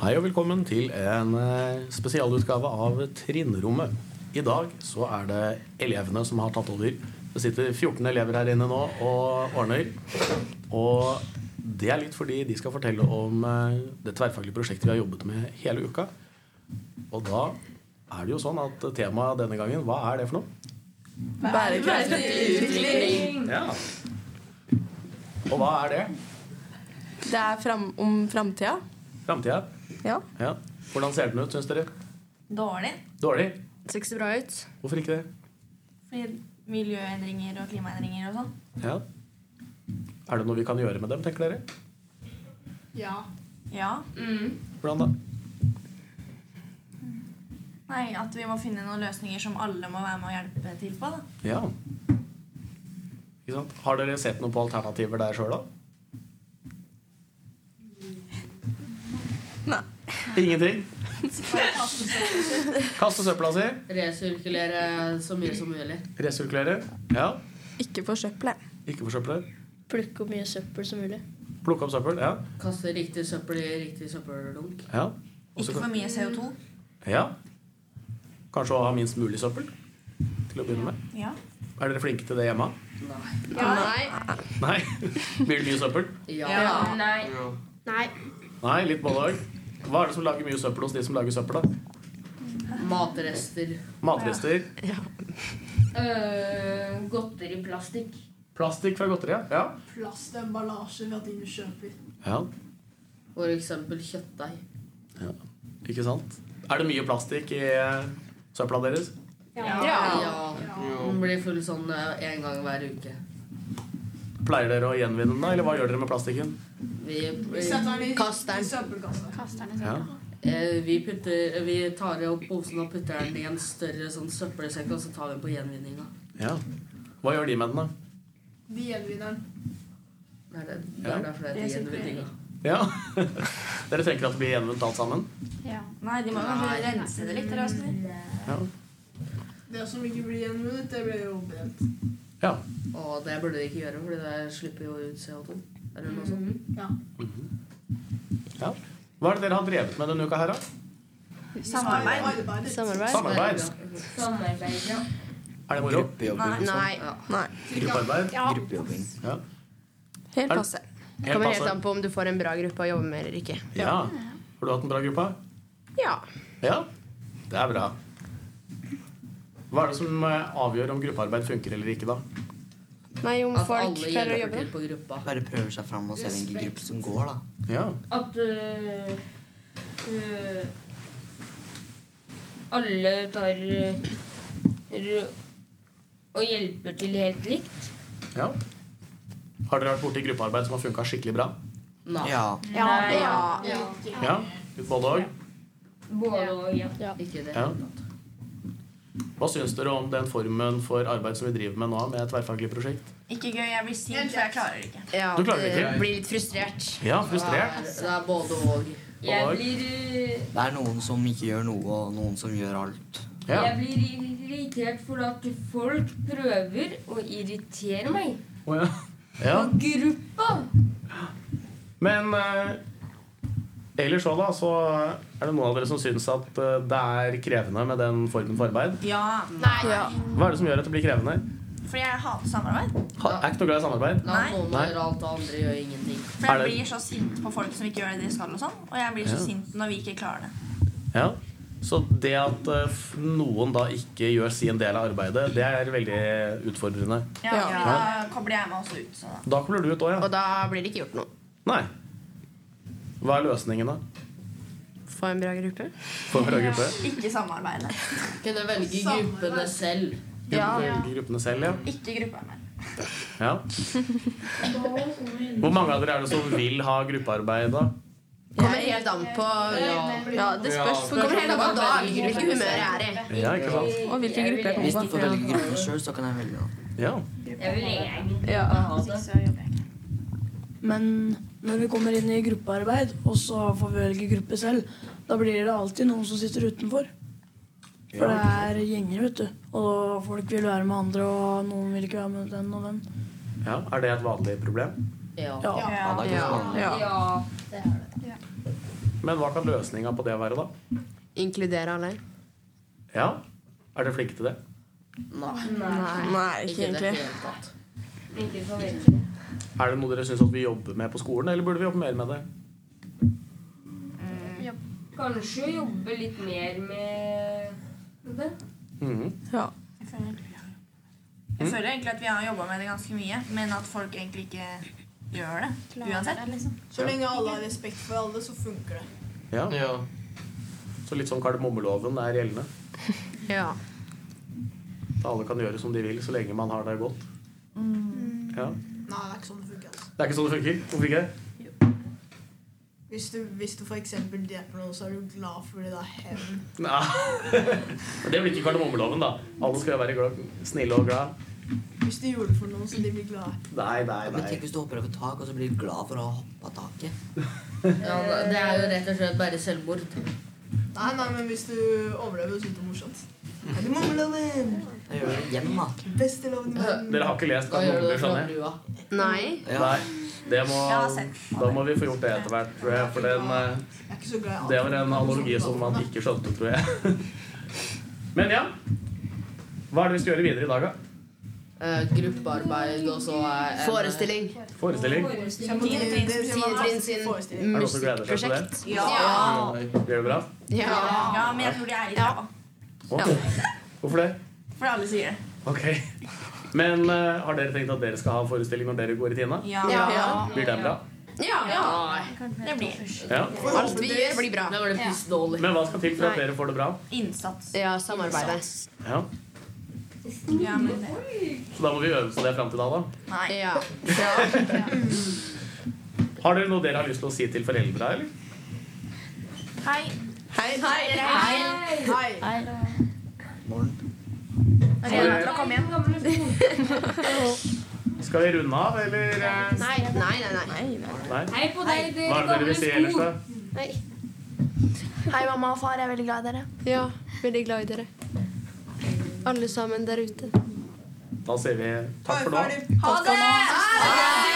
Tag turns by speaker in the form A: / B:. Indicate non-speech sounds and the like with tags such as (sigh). A: Hei og velkommen til en eh, spesialutgave av Trinnrommet. I dag så er det elevene som har tatt over. Det sitter 14 elever her inne nå og ordner. Og det er litt fordi de skal fortelle om eh, det tverrfaglige prosjektet vi har jobbet med hele uka. Og da er det jo sånn at temaet denne gangen, hva er det for noe?
B: Bærekraftig utvikling.
A: Ja. Og hva er det?
B: Det er fram, om framtida.
A: Framtida?
B: Ja.
A: Ja. Hvordan ser den ut, syns dere?
C: Dårlig.
A: Dårlig?
B: Det ser ikke så bra ut.
A: Hvorfor ikke det?
C: Fordi miljøendringer og klimaendringer og sånn.
A: Ja. Er det noe vi kan gjøre med dem, tenker dere?
C: Ja.
A: Hvordan da?
C: Nei, at vi må finne noen løsninger som alle må være med å hjelpe til på. da.
A: Ja. Ikke sant? Har dere sett noe på alternativer der sjøl, da?
B: Nei.
C: (laughs)
A: Ingenting? Kaste søpla si,
D: Resirkulere så mye som mulig.
A: resirkulere. Ja.
B: Ikke forsøple.
A: Ikke forsøple.
E: Plukke opp mye søppel som mulig.
A: Plukke opp søppel. Ja.
D: Kaste riktig søppel i riktig søppeldunk.
A: ja. Og så
C: Ikke for
A: kan-
C: mye CO2.
A: ja. Kanskje å ha minst mulig søppel til å begynne med.
C: Ja.
A: Er dere flinke til det hjemme?
D: Nei.
A: Nei? Blir det mye søppel?
D: Ja.
F: Nei.
E: Nei.
A: Nei, litt både òg. Hva er det som lager mye søppel hos de som lager søppel, da?
D: Matrester.
A: Matrester?
F: Øh, Godteriplastikk.
A: Plastikk fra godteriet? Ja.
G: Plastemballasje ved at du kjøper.
A: ja.
D: For eksempel kjøttdeig.
A: Ikke sant? Er det mye plastikk i eh, søpla deres?
D: Ja. Den blir full sånn eh, en gang hver uke.
A: Pleier dere å gjenvinne den, da, eller hva gjør dere med plastikken?
D: Vi,
G: Vi setter den i
D: Kast den.
G: i søppelkassa.
A: Ja.
D: eh, vi, putter, vi tar opp posen og putter den i en større sånn søppelsekk, og så tar vi den på gjenvinninga.
A: ja. Hva gjør de med den, da?
G: De gjenvinner den.
D: Det er, det, det
A: Ja.
D: er derfor det heter gjenvinninga.
A: Ja. (laughs) dere tenker at det blir gjenvunnet alt sammen?
C: Nei, de må kanskje rense det litt. Eller hva skal de?
A: Ja.
G: Det som ikke blir gjenvunnet, det blir jo brent.
A: ja.
D: Og det burde de ikke gjøre, for det slipper jo ut CO2. Eller sånn. noe sånt.
A: Mm. ja. Hva er det dere har drevet med denne uka her, da?
C: Samarbeid.
G: Arbeid.
E: Samarbeid.
A: Samarbeid?
F: Samarbeid, ja.
A: Er det moro?
H: Gruppejobbing.
E: liksom.
B: Nei. Nei.
A: Gruppearbeid?
H: Gruppejobbing.
A: Ja.
B: Helt passe.
E: Det
A: Helt
E: kommer helt an
A: passe.
E: på om du får en bra gruppe å jobbe med eller ikke.
A: Ja. Har du hatt en bra gruppe?
E: Ja.
A: Ja. Det er bra. Hva er det som eh, avgjør om gruppearbeid funker eller ikke, da?
E: Nei, om
D: At
E: folk
D: alle
E: klarer å
D: hjelper
E: jobbe.
D: til på gruppa.
H: Bare prøver seg fram og ser hvilken gruppe som går, da.
A: Ja.
F: At øh, øh, alle tar øh, ru- og hjelper til helt likt.
A: ja. Har dere vært borti gruppearbeid som har funka skikkelig bra?
D: Nei.
H: Ja.
F: Nei,
A: Ja, både og.
F: Både og, ja.
D: Ikke det.
A: Ja. Hva syns dere om den formen for arbeid som vi driver med nå, med et tverrfaglig prosjekt?
C: Ikke gøy. Jeg blir sint, for jeg klarer det ikke.
E: Ja,
A: Du klarer
E: det
A: ikke.
E: Blir litt frustrert.
A: Ja,
D: Det er,
A: frustrert.
D: det er både og.
F: Jeg
A: Og-
F: blir, øh,
H: Det er noen som ikke gjør noe, og noen som gjør alt.
A: Ja.
F: jeg blir irritert fordi at folk prøver å irritere meg.
A: Å, ja. ja.
F: Og gruppa!
A: Men eh, ellers så, da, så er det noen av dere som syns at eh, det er krevende med den formen for arbeid.
C: Ja.
B: Ja.
A: Hva er det som gjør at det blir krevende?
C: Fordi jeg hater samarbeid.
A: Ha, er ikke noe glad i samarbeid.
D: La
C: Nei.
D: noen
A: Nei.
D: gjøre alt, og andre gjør ingenting.
C: For
A: Er
C: jeg
A: det-
C: blir så sint på folk som ikke gjør det de skal, og sånn. Og jeg blir så
A: Ja.
C: sint når vi ikke klarer det.
A: Ja. Så det at eh, f- noen da ikke gjør sin del av arbeidet, det er veldig utfordrende.
C: Ja,
B: Ja.
C: fordi Da kobler jeg meg også ut. Så da.
A: Da kommer du ut òg,
E: Og
A: ja.
E: da blir det ikke gjort noe.
A: Nei. Hva er løsningen, da?
E: Få en bra gruppe.
A: For å gruppe?
C: Ikke samarbeide.
D: Kunne velge gruppene selv.
A: Velge gruppene selv, ja.
C: Ikke gruppearbeid.
A: Ja. (laughs) Hvor mange av dere er det som vil ha gruppearbeid, da?
E: Kommer helt an på
B: ja, det spørs på
E: Kommer helt an på dag.
D: Velge
E: Hvilket
D: gruppene
E: humør
D: selv.
E: jeg er i.
A: Ja, ikke sant?
B: Og hvilken
F: Jeg
B: gruppe jeg
F: vil-
B: kommer
H: Hvis de
B: på.
H: får velge gruppen sjøl, så kan jeg velge. da.
A: Ja.
F: Jeg vil egentlig
B: Ja.
F: bare ha det.
I: Men når vi kommer inn i gruppearbeid, og så får vi velge gruppe selv, da blir det alltid noen som sitter utenfor. For det er gjenger, vet du. Og folk vil være med andre, og noen vil ikke være med den og den.
A: Ja, Er det et vanlig problem?
F: Ja.
I: Ja.
H: Ja, det er ikke så vanlig.
B: Ja.
F: Ja, det er det.
A: Men hva kan løsninga på det være, da?
E: Inkludere alle.
A: Ja, Er dere flinke til det?
B: Nei, ikke
D: i det
B: egentlig.
D: hele tatt.
F: Ikke for veldig.
A: Er det noe dere syns vi jobber med på skolen, eller burde vi jobbe mer med det?
F: Kanskje jobbe litt mer med det.
A: Mhm.
B: Ja.
C: Jeg føler egentlig vi har jeg føler egentlig at vi har jobba med det ganske mye, men at folk egentlig ikke gjør det. Uansett.
G: Så lenge alle har respekt for alle, så funker det.
A: Ja,
H: Ja.
A: Så litt sånn kardemommeloven er gjeldende?
E: Ja.
A: At alle kan gjøre som de vil, så lenge man har det godt? Ja.
G: Nei, det er ikke sånn det funker. altså.
A: Det er ikke sånn det funker? Hvorfor ikke?
G: Hvis du, hvis du for eksempel dreper noen, så er du glad for det da hevn.
A: Nei. (laughs) Men det blir ikke kardemommeloven, da. Alle skal jo være glad, snille og glad.
G: Hvis du gjorde det for noen, så de blir glade.
A: Nei, nei,
H: Men tenk hvis du hopper over tak, og så blir du glad for å ha hoppa taket.
D: Ja, det er jo rett og slett bare selvmord.
G: Nei, nei, men hvis du overlever, så er det morsomt.
H: Er det mammeloven? Da gjør du det igjen, da.
G: Beste loven i verden.
A: Dere har ikke lest
D: Hva gjør du
A: kardemommer,
D: fra
A: skjønner jeg?
D: brua?
E: Nei.
H: Ja.
A: Nei. Det må,
C: Jeg har sett.
A: da må vi få gjort det etter hvert, tror jeg. For den, eh,
G: Jeg er ikke så glad i alt.
A: det var en analogi som man ikke skjønte, tror jeg. (laughs) Men ja. Hva er det vi skal gjøre videre i dag, da?
D: Eh, gruppearbeid og så eh, en-
E: Forestilling.
A: Forestilling?
G: Det- det- det var
E: Tidetrin
G: alltid forestilling.
E: sin
A: Er det noen som gleder seg til det?
E: musikkprosjekt.
C: Ja.
A: Gjør det bra?
E: Ja.
C: ja, men jeg tror de er i ræva.
A: Å, Hvorfor det?
C: For alle sier det.
A: Ok. Men eh, har dere tenkt at dere skal ha en forestilling når dere går i tiende?
C: Ja.
E: Ja.
A: Blir den bra?
D: Nei.
C: Det blir
A: Ja.
E: Alt vi gjør, blir bra.
D: Da var det pissdårlig.
A: Men hva skal til for at dere får det bra?
C: innsats.
E: Ja, samarbeidet.
A: Ja.
C: Ja, men det.
A: Så da må vi øve på det fram til da, da.
C: Nei.
E: Ja.
A: Har dere noe dere har lyst til å si til foreldra, eller?
C: Hei.
E: Hei.
C: Hei.
G: Hei.
H: Morgen.
C: Arena til å komme hjem.
A: Skal vi runde av, eller? eh,
E: Nei, nei, nei. nei.
A: Nei?
F: Hei på deg,
A: Hva er det
F: dere
A: dere vil si ellers, da?
I: Hei, mamma og far. Jeg er veldig glad i dere.
E: Ja, veldig glad i dere. Alle sammen der ute.
A: Da sier vi takk for nå.
G: Ferdig.
C: Ha det!